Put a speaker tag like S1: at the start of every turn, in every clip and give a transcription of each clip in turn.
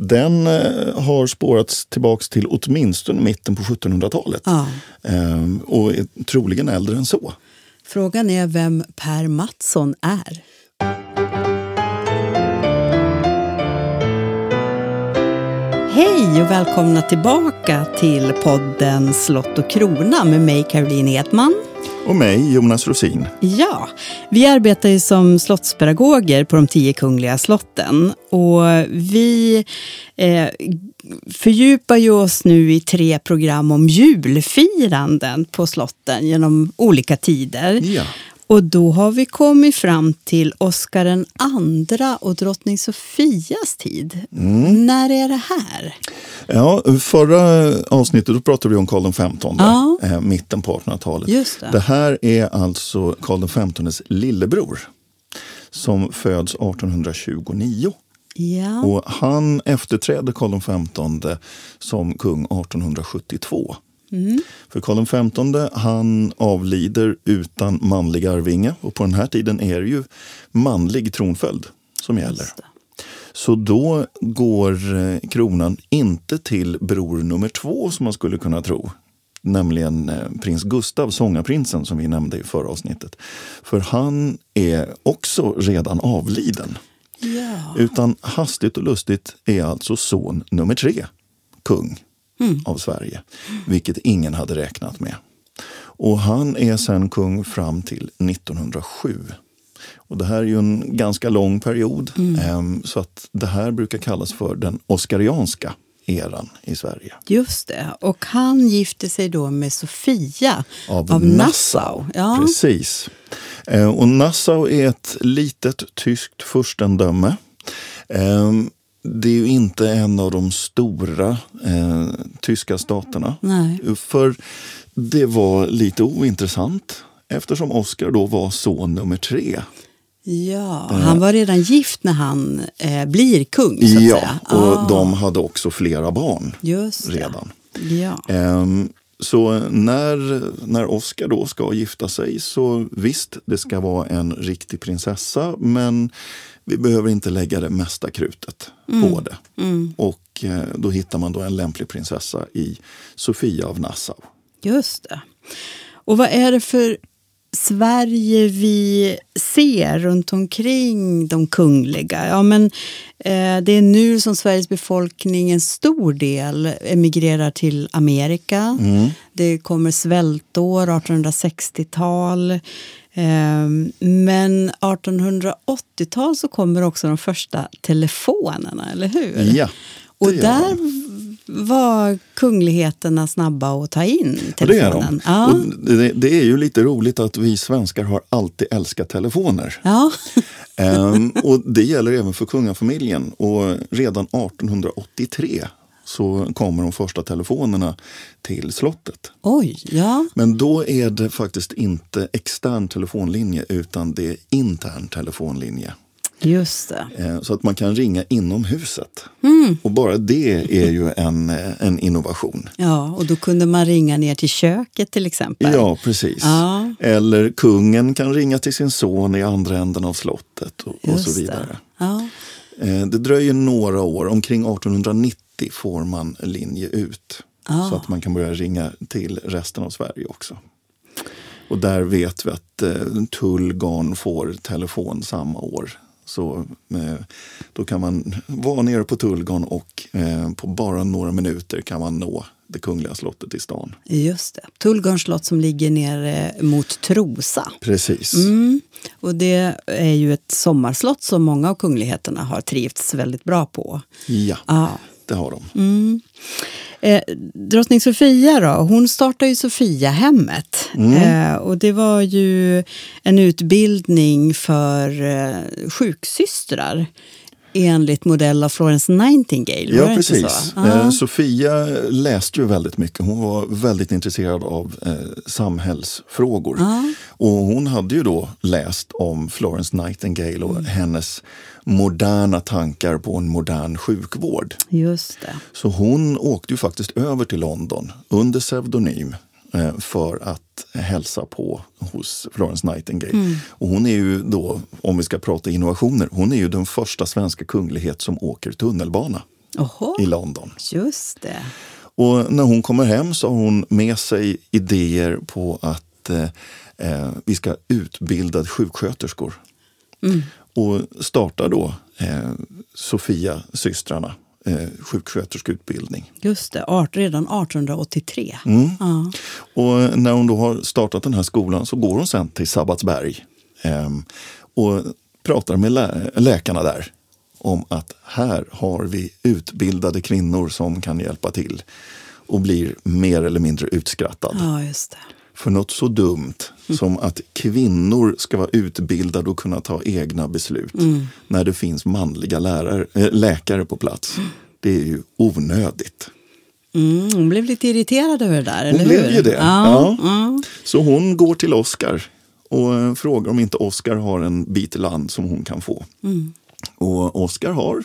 S1: Den eh, har spårats tillbaks till åtminstone mitten på 1700-talet
S2: Ja.
S1: ehm, och är troligen äldre än så.
S2: Frågan är vem Per Mattsson är. Hej och välkomna tillbaka till podden Slott och krona med mig Caroline Edman.
S1: Och mig, Jonas Rosin.
S2: Ja, vi arbetar ju som slottspedagoger på de tio kungliga slotten och vi eh, fördjupar ju oss nu i tre program om julfiranden på slotten genom olika tider.
S1: Ja.
S2: Och då har vi kommit fram till Oscar den andra och drottning Sofias tid. När är det här?
S1: Ja, förra avsnittet då pratade vi om Karl XV,
S2: Ja.
S1: där, eh, mitten på 1800-talet.
S2: Just det.
S1: det här är alltså Karl XVs lillebror som föds 1829.
S2: Ja,
S1: Och han efterträdde Karl XV som kung 1872.
S2: mm.
S1: För Karl XV han avlider utan manlig arvinge och på den här tiden är det ju manlig tronföljd som gäller.
S2: just det.
S1: Så då går eh, kronan inte till bror nummer två som man skulle kunna tro. Nämligen eh, prins Gustav, sångarprinsen som vi nämnde i förra avsnittet. För han är också redan avliden.
S2: Ja.
S1: Utan hastigt och lustigt är alltså son nummer tre kung av Sverige. Vilket ingen hade räknat med. Och han är sen kung fram till 1907. Och det här är ju en ganska lång period. em, Så att det här brukar kallas för den oskarianska eran i Sverige.
S2: Just det, och han gifte sig då med Sofia
S1: Av Nassau.
S2: Ja.
S1: Precis. Eh, Och Nassau är ett litet tyskt furstendöme. Eh, Det är ju inte en av de stora eh, tyska staterna.
S2: Nej.
S1: För det var lite ointressant eftersom Oscar då var son nummer tre.
S2: Ja,
S1: Eh.
S2: han var redan gift när han eh, blir kung. Så att
S1: Ja,
S2: säga.
S1: och
S2: Ah,
S1: de hade också flera barn
S2: just det.
S1: redan.
S2: Ja.
S1: Ehm, Så när, när Oscar då ska gifta sig så visst, det ska vara en riktig prinsessa men vi behöver inte lägga det mesta krutet
S2: Mm.
S1: på det. Och eh, då hittar man då en lämplig prinsessa i Sofia av Nassau.
S2: Just det. Och vad är det för Sverige vi ser runt omkring de kungliga? Ja, men, eh, det är nu som Sveriges befolkning en stor del emigrerar till Amerika. Det kommer svältår, 1860-tal. Eh, men 1880-tal så kommer också de första telefonerna, eller hur?
S1: Ja,
S2: Eh. Och
S1: det gör de.
S2: där var kungligheterna snabba att ta in
S1: Ja, Det är de.
S2: telefonen. Ja,
S1: Och det, det är ju lite roligt att vi svenskar har alltid älskat telefoner.
S2: ja.
S1: Ehm, och det gäller även för kungafamiljen. Och redan 1883 så kommer de första telefonerna till slottet.
S2: Oj, ja.
S1: Men då är det faktiskt inte extern telefonlinje utan det är intern telefonlinje.
S2: Just det.
S1: Eh, Så att man kan ringa inom huset.
S2: Mm.
S1: Och bara det är ju en, eh, en innovation.
S2: Ja, och då kunde man ringa ner till köket till exempel.
S1: Ja, precis.
S2: Ja.
S1: Eller kungen kan ringa till sin son i andra änden av slottet och, och
S2: Just
S1: så vidare.
S2: Det. Ja.
S1: Eh, Det dröjer några år, omkring 1890 får man linje ut. Så att man kan börja ringa till resten av Sverige också. Och där vet vi att eh, Tullgarn får telefon samma år. Så eh, då kan man vara nere på Tullgarn och eh, på bara några minuter kan man nå det kungliga slottet i stan.
S2: Just det. Tullgarns slott som ligger ner eh, mot Trosa.
S1: Precis.
S2: Mm. Och det är ju ett sommarslott som många av kungligheterna har trivts väldigt bra på.
S1: Ja,
S2: Ja.
S1: det har de.
S2: Eh, drottning Sofia då, hon startade ju Sofiahemmet.
S1: Mm.
S2: Eh, och det var ju en utbildning för eh, sjuksystrar enligt modell av Florence Nightingale. var
S1: Ja,
S2: det inte
S1: precis.
S2: Så? Ja.
S1: Eh, Sofia läste ju väldigt mycket. Hon var väldigt intresserad av eh, samhällsfrågor. Och hon hade ju då läst om Florence Nightingale och
S2: Mm.
S1: hennes moderna tankar på en modern sjukvård.
S2: Just det.
S1: Så hon åkte ju faktiskt över till London under pseudonym eh, för att hälsa på hos Florence Nightingale.
S2: Mm.
S1: Och hon är ju då, om vi ska prata innovationer, hon är ju den första svenska kunglighet som åker tunnelbana.
S2: Oho,
S1: i London.
S2: just det.
S1: Och när hon kommer hem så har hon med sig idéer på att eh, eh, vi ska utbilda sjuksköterskor. Och startar då eh, Sofia-systrarna eh, sjuksköterskeutbildning.
S2: Just det, art, redan 1883.
S1: Mm.
S2: Ja.
S1: Och när hon då har startat den här skolan så går hon sen till Sabbatsberg eh, och pratar med lä- läkarna där om att här har vi utbildade kvinnor som kan hjälpa till och blir mer eller mindre utskrattad
S2: ja, just det.
S1: för något så dumt som att kvinnor ska vara utbildade och kunna ta egna beslut när det finns manliga lärare, eh, läkare på plats. Det är ju onödigt.
S2: Mm, hon blev lite irriterad över det där,
S1: Hon
S2: eller hur?
S1: blev ju det.
S2: Ja,
S1: Ja. Så hon går till Oscar och eh, frågar om inte Oscar har en bit land som hon kan få. Och Oscar har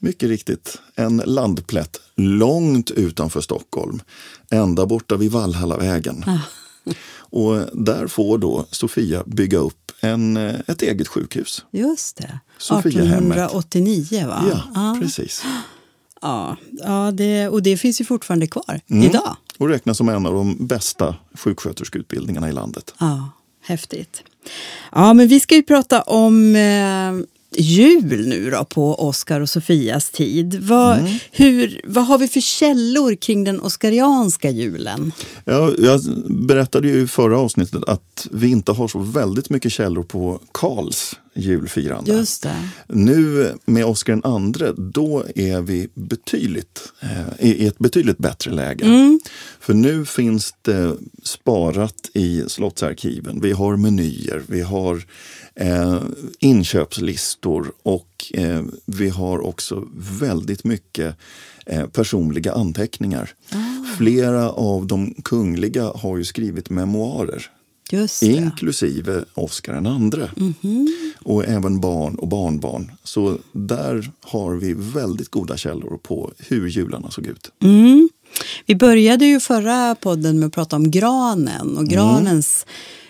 S1: mycket riktigt en landplätt långt utanför Stockholm, ända borta vid Valhallavägen. Och där får då Sofia bygga upp en, eh, ett eget sjukhus.
S2: Just det.
S1: Sofiahemmet.
S2: 1889 va?
S1: Ja,
S2: ja.
S1: precis.
S2: ja. ja det, och det finns ju fortfarande kvar
S1: Mm.
S2: idag.
S1: Och räknas som en av de bästa sjuksköterskeutbildningarna i landet.
S2: Ja, häftigt. Ja, men vi ska ju prata om eh, jul nu då på Oscar och Sofias tid. Vad, hur, vad har vi för källor kring den oskarianska julen?
S1: Ja, jag berättade ju i förra avsnittet att vi inte har så väldigt mycket källor på Karls julfirande.
S2: Just det.
S1: Nu med Oscar den andre, då är vi betydligt, eh, i i ett betydligt bättre läge. För nu finns det sparat i slottsarkiven. Vi har menyer, vi har eh, inköpslistor och eh, vi har också väldigt mycket eh, personliga anteckningar. Flera av de kungliga har ju skrivit memoarer
S2: Just det. Mhm.
S1: inklusive Oscar den andre. Och även barn och barnbarn. Så där har vi väldigt goda källor på hur jularna såg ut.
S2: Mm. Vi började ju förra podden med att prata om granen och granens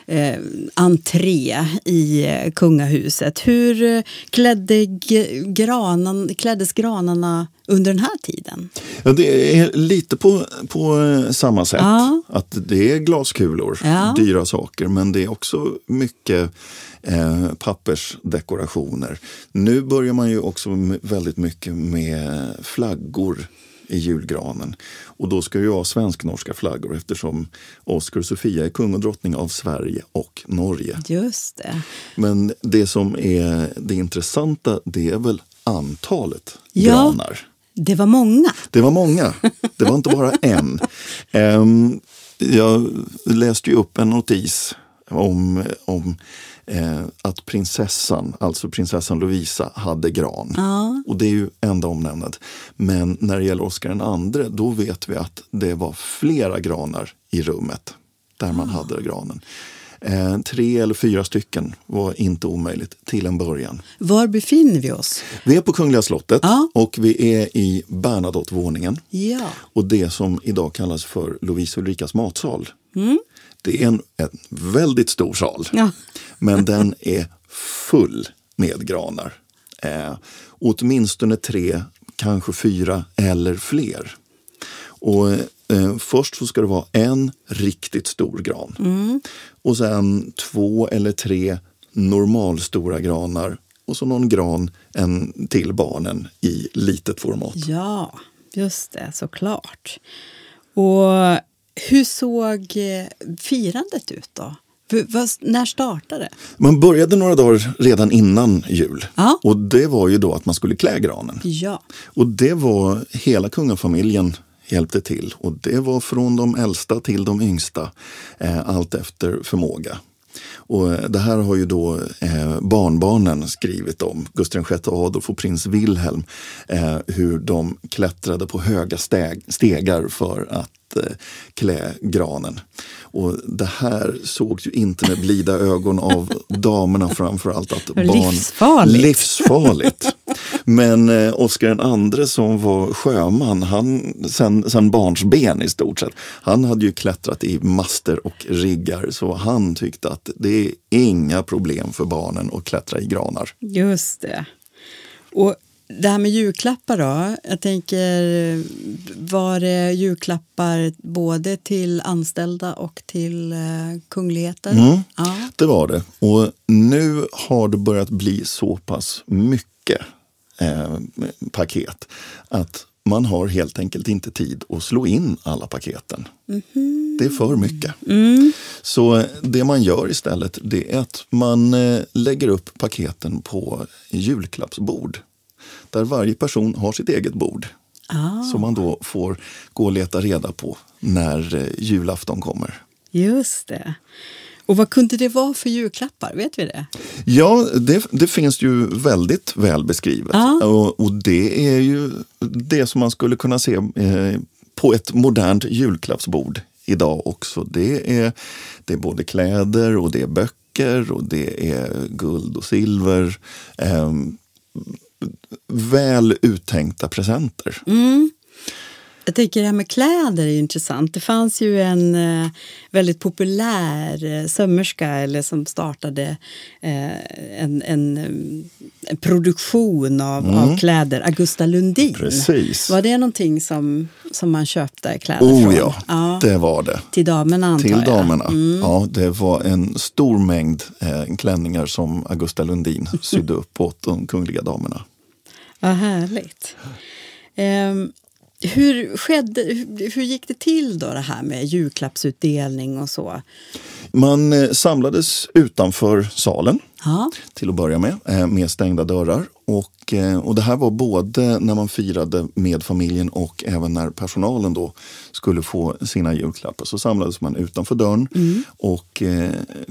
S2: eh, entré i eh, kungahuset. Hur eh, klädde g- granan, kläddes granarna under den här tiden?
S1: Ja, det är lite på, på eh, samma sätt.
S2: Ja.
S1: Att det är glaskulor,
S2: Ja.
S1: dyra saker, men det är också mycket eh, pappersdekorationer. Nu börjar man ju också m- väldigt mycket med flaggor i julgranen. Och då ska det ju vara svensk-norska flaggor eftersom Oscar och Sofia är kung och drottning av Sverige och Norge.
S2: Just det.
S1: Men det som är det intressanta det är väl antalet
S2: Ja.
S1: granar.
S2: Det var många.
S1: Det var många, det var inte bara en. Ehm, jag läste ju upp en notis om, om eh, att prinsessan, alltså prinsessan Lovisa, hade gran. Och det är ju enda omnämnad. Men när det gäller Oscar den andre, då vet vi att det var flera granar i rummet där man hade granen. Eh, tre eller fyra stycken var inte omöjligt till en början.
S2: Var befinner vi oss?
S1: Vi är på Kungliga slottet
S2: Ja.
S1: och vi är i Bernadotte-våningen
S2: Ja,
S1: och det som idag kallas för Lovisa Ulrikas matsal. Det är en, en väldigt stor sal,
S2: Ja.
S1: men den är full med granar. Eh, åtminstone tre, kanske fyra eller fler. Och, eh, först så ska det vara en riktigt stor gran. Och sen två eller tre normalstora granar och så någon gran en till barnen i litet format.
S2: ja just det, såklart. Och hur såg eh, firandet ut då? V- vad, när startade det?
S1: Man började några dagar redan innan jul.
S2: Ja.
S1: Och det var ju då att man skulle klä granen.
S2: Ja,
S1: Och det var hela kungafamiljen hjälpte till. Och det var från de äldsta till de yngsta, eh, allt efter förmåga. Och eh, det här har ju då eh, barnbarnen skrivit om, Gustav VI Adolf och prins Wilhelm, eh, hur de klättrade på höga steg, stegar för att eh, klä granen. Och det här sågs ju inte med blida ögon av damerna framförallt. Att barn,
S2: Livsfarligt.
S1: livsfarligt. Men eh, Oscar den andre som var sjöman, han, sen, sen barnsben i stort sett, han hade ju klättrat i master och riggar så han tyckte att det är inga problem för barnen att klättra i granar.
S2: just det. Och Det här med julklappar då. Jag tänker, var det julklappar både till anställda och till eh, kungligheter?
S1: Mm.
S2: Ja.
S1: Det var det. Och nu har det börjat bli så pass mycket eh, paket att man har helt enkelt inte tid att slå in alla paketen. Det är för mycket. Så det man gör istället det är att man eh, lägger upp paketen på julklappsbord. Där varje person har sitt eget bord. Som man då får gå och leta reda på när eh, julafton kommer.
S2: Just det. Och vad kunde det vara för julklappar? Vet vi det?
S1: Ja, det, det finns ju väldigt väl beskrivet.
S2: Ja.
S1: Och, och det är ju det som man skulle kunna se eh, på ett modernt julklappsbord idag också. Det är, det är både kläder och det är böcker och det är guld och silver. Eh, väl uttänkta presenter.
S2: Jag tänker det här med kläder är ju intressant. Det fanns ju en eh, väldigt populär eh, sömmerska eller som startade eh, en, en, eh, en produktion av, av kläder, Augusta Lundin.
S1: Mm. Precis.
S2: Var det någonting som, som man köpte kläder
S1: Oh
S2: från?
S1: ja, det var det.
S2: Till damerna antar
S1: Till
S2: jag. Mm.
S1: damerna. Ja, det var en stor mängd eh, klänningar som Augusta Lundin sydde upp åt de kungliga damerna.
S2: Vad härligt. Ehm, hur, skedde, hur, hur gick det till då det här med julklappsutdelning och så?
S1: Man eh, samlades utanför salen
S2: Ja,
S1: till att börja med, eh, med stängda dörrar. Och, eh, och det här var både när man firade med familjen och även när personalen då skulle få sina julklappar. Så samlades man utanför dörren och eh,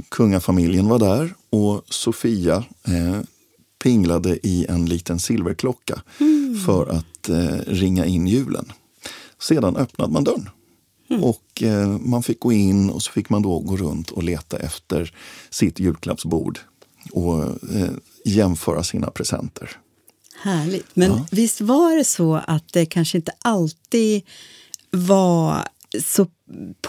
S1: kungafamiljen var där och Sofia eh, pinglade i en liten silverklocka för att eh, ringa in julen. Sedan öppnade man dörren. Och eh, man fick gå in och så fick man då gå runt och leta efter sitt julklappsbord och eh, jämföra sina presenter.
S2: Härligt. Men visst var det så att det kanske inte alltid var så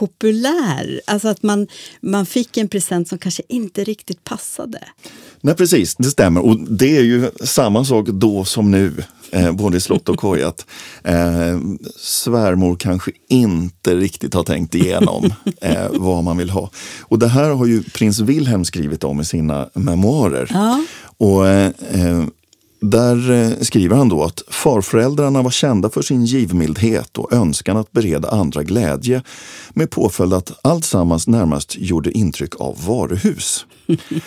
S2: populär? Alltså att man, man fick en present som kanske inte riktigt passade.
S1: Nej precis, det stämmer. Och det är ju samma sak då som nu, eh, både i slott och koj. Att, eh, svärmor kanske inte riktigt har tänkt igenom eh, vad man vill ha. Och det här har ju prins Wilhelm skrivit om i sina memoarer.
S2: Ja.
S1: Och, eh, eh, där eh, skriver han då att farföräldrarna var kända för sin givmildhet och önskan att bereda andra glädje med påföljd att alltsammans närmast gjorde intryck av varuhus.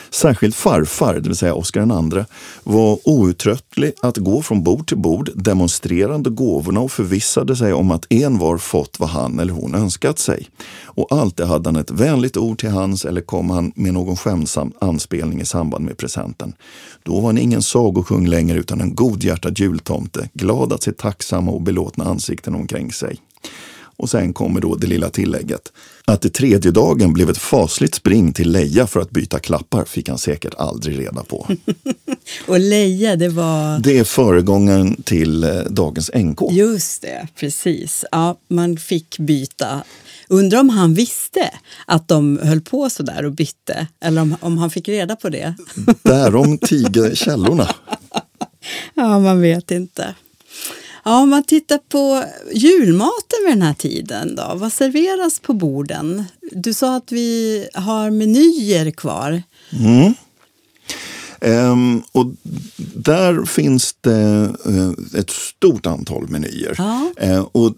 S1: Särskilt farfar, det vill säga Oscar II, var outtröttlig att gå från bord till bord demonstrerande gåvorna och förvissade sig om att en var fått vad han eller hon önskat sig. Och alltid hade han ett vänligt ord till hans eller kom han med någon skämtsam anspelning i samband med presenten. Då var han ingen sagokung längre utan en godhjärtad jultomte, glad att se tacksamma och belåtna ansikten omkring sig. Och sen kommer då det lilla tillägget. Att det tredje dagen blev ett fasligt spring till Leja för att byta klappar fick han säkert aldrig reda på.
S2: Och Leia, det var...
S1: Det är föregångaren till eh, dagens NK.
S2: Just det, precis. Ja, man fick byta. Undrar om han visste att de höll på så där och bytte? Eller om, om han fick reda på det?
S1: Därom tiger källorna.
S2: Ja, man vet inte. Ja, om man tittar på julmaten vid den här tiden då, vad serveras på borden? Du sa att vi har menyer kvar.
S1: Ehm, och där finns det eh, ett stort antal menyer.
S2: Ja.
S1: Eh, och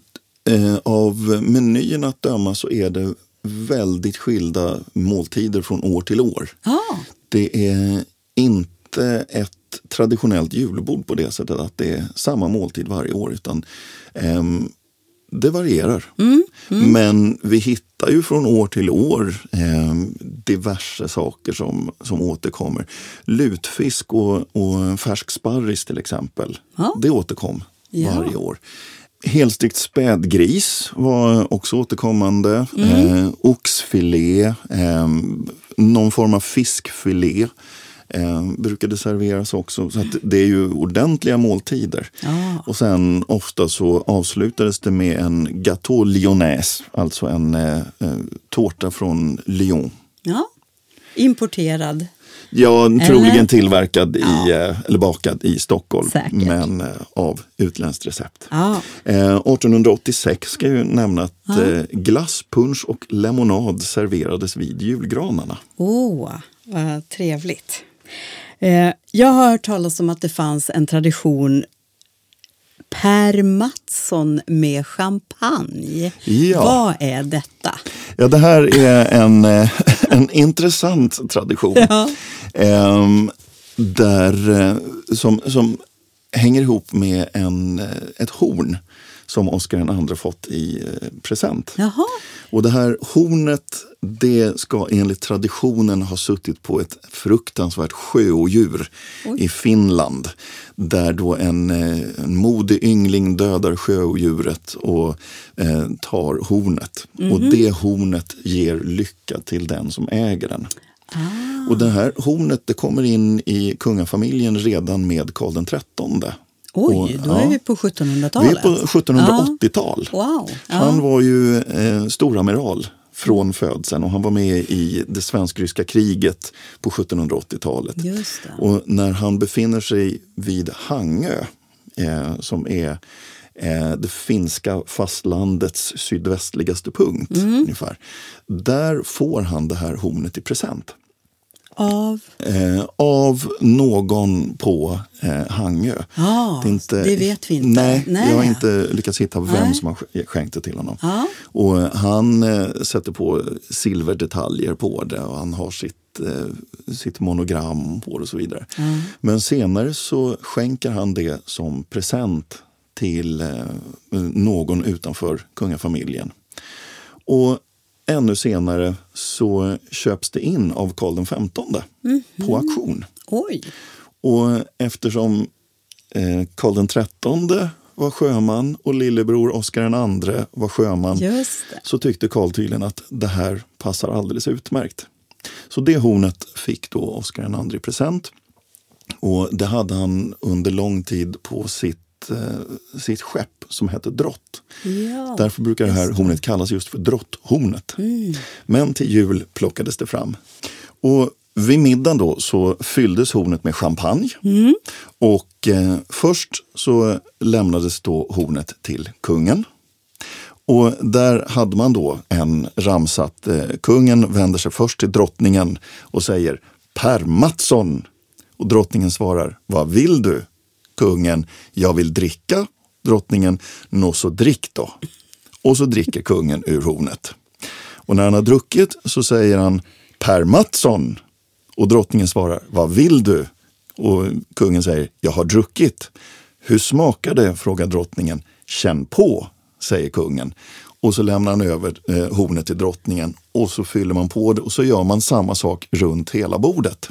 S1: eh, av menyerna att döma så är det väldigt skilda måltider från år till år.
S2: Ja,
S1: Det är inte ett traditionellt julbord på det sättet att det är samma måltid varje år utan ehm, det varierar.
S2: Mm,
S1: Men vi hittar ju från år till år ehm, diverse saker som, som återkommer. Lutfisk och, och färsk sparris till exempel,
S2: Ja.
S1: det återkom
S2: Ja.
S1: varje år. Helstekt spädgris var också återkommande.
S2: Mm.
S1: Eh, oxfilé, eh, någon form av fiskfilé eh, brukade serveras också. Så att det är ju ordentliga måltider.
S2: Ja.
S1: Och sen ofta så avslutades det med en gâteau lyonnaise, alltså en eh, eh, tårta från Lyon.
S2: ja. importerad.
S1: Ja,
S2: Eller?
S1: troligen tillverkad i, eh, eller bakad i Stockholm,
S2: Säkert.
S1: men eh, av utländskt recept.
S2: Ja.
S1: Eh, 1886 ska jag ju nämna att eh, glass, punsch och lemonad serverades vid julgranarna.
S2: Åh, vad trevligt. Eh, jag har hört talas om att det fanns en tradition Per Mattsson med champagne.
S1: Ja.
S2: Vad är detta?
S1: Ja, det här är en, eh, en intressant tradition.
S2: Ja.
S1: Ehm, där, eh, som, som hänger ihop med en, eh, ett horn som Oscar II fått i eh, present.
S2: Jaha.
S1: Och det här hornet det ska enligt traditionen ha suttit på ett fruktansvärt sjöodjur i Finland. Där då en, eh, en modig yngling dödar sjöodjuret och eh, tar hornet. Och
S2: Mhm.
S1: det hornet ger lycka till den som äger den.
S2: Ah.
S1: Och det här hornet det kommer in i kungafamiljen redan med Karl XIII.
S2: Oj,
S1: Och,
S2: då är
S1: ja.
S2: vi på
S1: Vi
S2: 1700-talet.
S1: är på 1780-tal.
S2: Ja. Wow. Ja.
S1: Han var ju eh, storamiral från födseln och han var med i det svensk-ryska kriget på 1780-talet.
S2: Just det.
S1: Och när han befinner sig vid Hangö, eh, som är eh, det finska fastlandets sydvästligaste punkt,
S2: Mm.
S1: ungefär. Där får han det här hornet i present.
S2: Av...
S1: Eh, av någon på eh, Hangö.
S2: Ja,
S1: är
S2: det vet vi inte.
S1: Nej,
S2: Nej.
S1: jag har inte lyckats hitta vem
S2: Nej.
S1: som har sk- skänkt det till honom.
S2: Ja.
S1: Och eh, han eh, sätter på silverdetaljer på det och han har sitt, eh, sitt monogram på det och så vidare. Men senare så skänker han det som present till eh, någon utanför kungafamiljen. Och ännu senare så köps det in av Karl XV
S2: Mhm.
S1: på auktion.
S2: Oj.
S1: Och eftersom eh, Karl XIII var sjöman och lillebror Oscar II var sjöman
S2: Just det.
S1: så tyckte Karl tydligen att det här passar alldeles utmärkt. Så det hornet fick då Oscar II i present. Och det hade han under lång tid på sitt, eh, sitt skepp som hette Drott.
S2: Ja.
S1: Därför brukar det Mm. här hornet kallas just för drotthornet. Men till jul plockades det fram. Och vid middagen då så fylldes hornet med champagne. Och eh, först så lämnades då hornet till kungen. Och där hade man då en ramsa att eh, kungen vänder sig först till drottningen och säger Per Mattsson. Och drottningen svarar, vad vill du? Kungen, jag vill dricka. Drottningen, nå så drick då. Och så dricker kungen ur hornet. Och när han har druckit så säger han Per Mattsson. Och drottningen svarar, vad vill du? Och kungen säger, jag har druckit. Hur smakar det? frågar drottningen. Känn på, säger kungen. Och så lämnar han över eh, hornet till drottningen och så fyller man på det och så gör man samma sak runt hela bordet.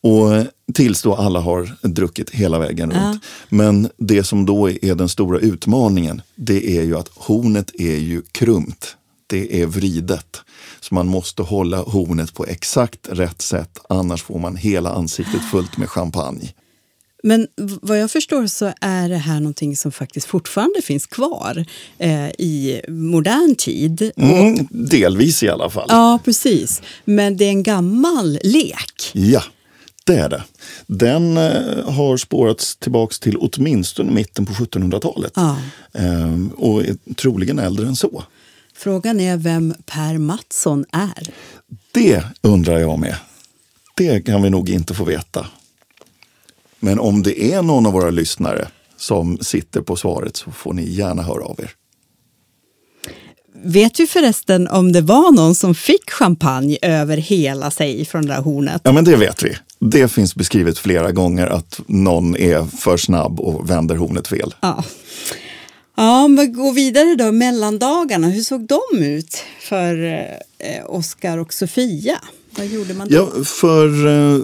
S1: Och eh, tills då alla har druckit hela vägen runt. Men det som då är den stora utmaningen, det är ju att hornet är ju krumpt. Det är vridet. Så man måste hålla hornet på exakt rätt sätt, annars får man hela ansiktet fullt med champagne.
S2: Men v- vad jag förstår så är det här någonting som faktiskt fortfarande finns kvar eh, i modern tid.
S1: Mm, delvis i alla fall.
S2: Ja, precis. Men det är en gammal lek.
S1: Ja, det är det. Den eh, har spårats tillbaks till åtminstone mitten på 1700-talet.
S2: Ja.
S1: Ehm, och är troligen äldre än så.
S2: Frågan är vem Per Mattsson är.
S1: Det undrar jag med. Det kan vi nog inte få veta. Men om det är någon av våra lyssnare som sitter på svaret så får ni gärna höra av er.
S2: Vet du förresten om det var någon som fick champagne över hela sig från det där hornet?
S1: Ja, men det vet vi. Det finns beskrivet flera gånger att någon är för snabb och vänder hornet fel.
S2: Ja. Ja, men gå vidare då. Mellandagarna, hur såg de ut för eh, Oscar och Sofia? Vad gjorde man då?
S1: Ja, för, eh,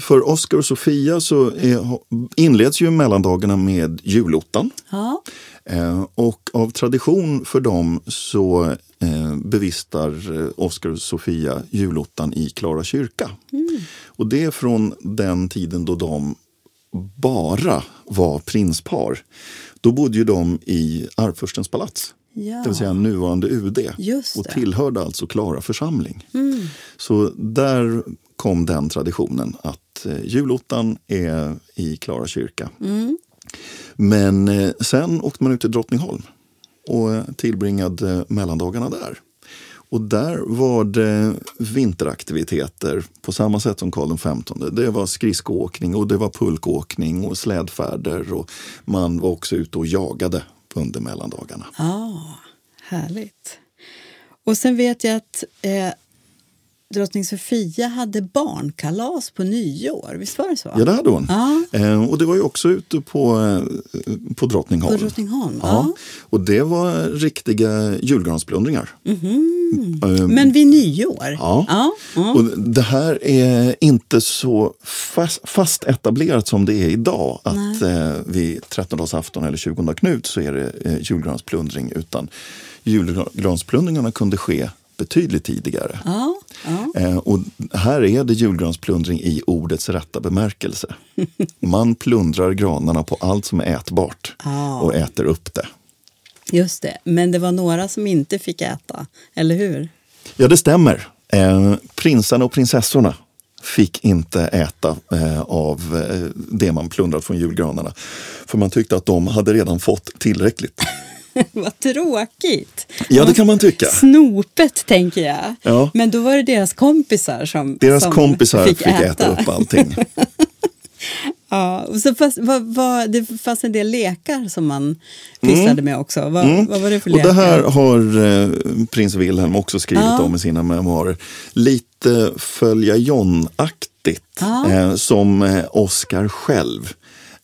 S1: för Oscar och Sofia så är, inleds ju mellandagarna med julottan.
S2: Ja.
S1: Eh, Och av tradition för dem så eh, bevistar eh, Oscar och Sofia julottan i Klara kyrka. Och det är från den tiden då de bara var prinspar. Då bodde ju de i Arvfurstens palats,
S2: Ja.
S1: det vill säga nuvarande UD
S2: Just
S1: och
S2: det. Mm.
S1: tillhörde alltså Klara församling. Så där kom den traditionen att eh, julottan är i Klara kyrka.
S2: Mm.
S1: Men eh, sen åkte man ut till Drottningholm och eh, tillbringade eh, mellandagarna där. Och där var det vinteraktiviteter på samma sätt som Karl XV. Det var skridskoåkning och det var pulkåkning och slädfärder och man var också ute och jagade under mellandagarna.
S2: Ja, ah, härligt. Och sen vet jag att eh, drottning Sofia hade barnkalas på nyår. Visst var det så?
S1: Ja, det hade hon.
S2: Ja.
S1: Eh, och det var ju också ute på, eh, på Drottningholm.
S2: På Drottningholm,
S1: Ja.
S2: ja.
S1: Och det var riktiga julgransplundringar. Eh,
S2: Mm-hmm. Men vid nyår?
S1: Ja.
S2: ja, ja.
S1: Och det här är inte så fast, fast etablerat som det är idag. Att eh, vid 13-dagsafton eller 20 Knut så är det eh, julgransplundring. Utan julgransplundringarna kunde ske betydligt tidigare.
S2: ja, ja.
S1: Eh, och här är det julgransplundring i ordets rätta bemärkelse. Man plundrar granarna på allt som är ätbart
S2: Ah.
S1: och äter upp det.
S2: Just det, men det var några som inte fick äta, eller hur?
S1: Ja, det stämmer. Eh, prinsarna och prinsessorna fick inte äta eh, av eh, det man plundrat från julgranarna. För man tyckte att de hade redan fått tillräckligt.
S2: Vad tråkigt!
S1: Ja, det kan man tycka.
S2: Snopet, tänker jag.
S1: Ja.
S2: Men då var det deras kompisar som,
S1: Deras
S2: som
S1: kompisar fick, äta. upp allting.
S2: Ja, och så fast, vad- vad- det fanns en del lekar som man pysslade med också. Vad, vad var det för
S1: Mm. Och
S2: lekar?
S1: det här har eh, prins Wilhelm också skrivit
S2: Ja.
S1: om i sina memoarer. Lite följa John-aktigt
S2: Ja.
S1: eh, som eh, Oscar själv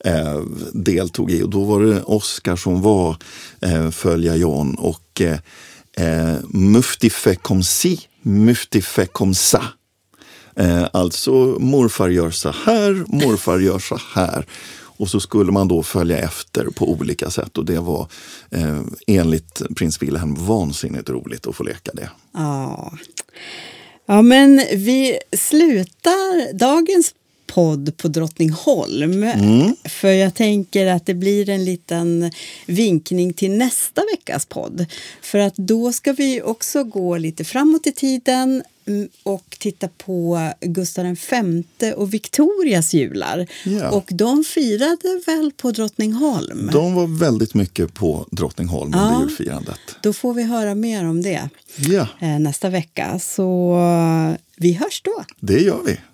S1: eh, deltog i. Och då var det Oscar som var eh, följa John och eh, eh, mufti fe comme si, mufti fe comme ça. Eh, alltså morfar gör så här, morfar gör så här. Och så skulle man då följa efter på olika sätt och det var eh, enligt prins Wilhelm vansinnigt roligt att få leka det.
S2: Ja. ja, men vi slutar dagens podd på Drottningholm. För jag tänker att det blir en liten vinkning till nästa veckas podd. För att då ska vi också gå lite framåt i tiden mm, och titta på Gustav V och Victorias jular.
S1: Ja.
S2: Och de firade väl på Drottningholm?
S1: De var väldigt mycket på Drottningholm under
S2: Ja.
S1: julfirandet.
S2: Då får vi höra mer om det
S1: Ja,
S2: eh, nästa vecka. Så eh, vi hörs då.
S1: det gör vi.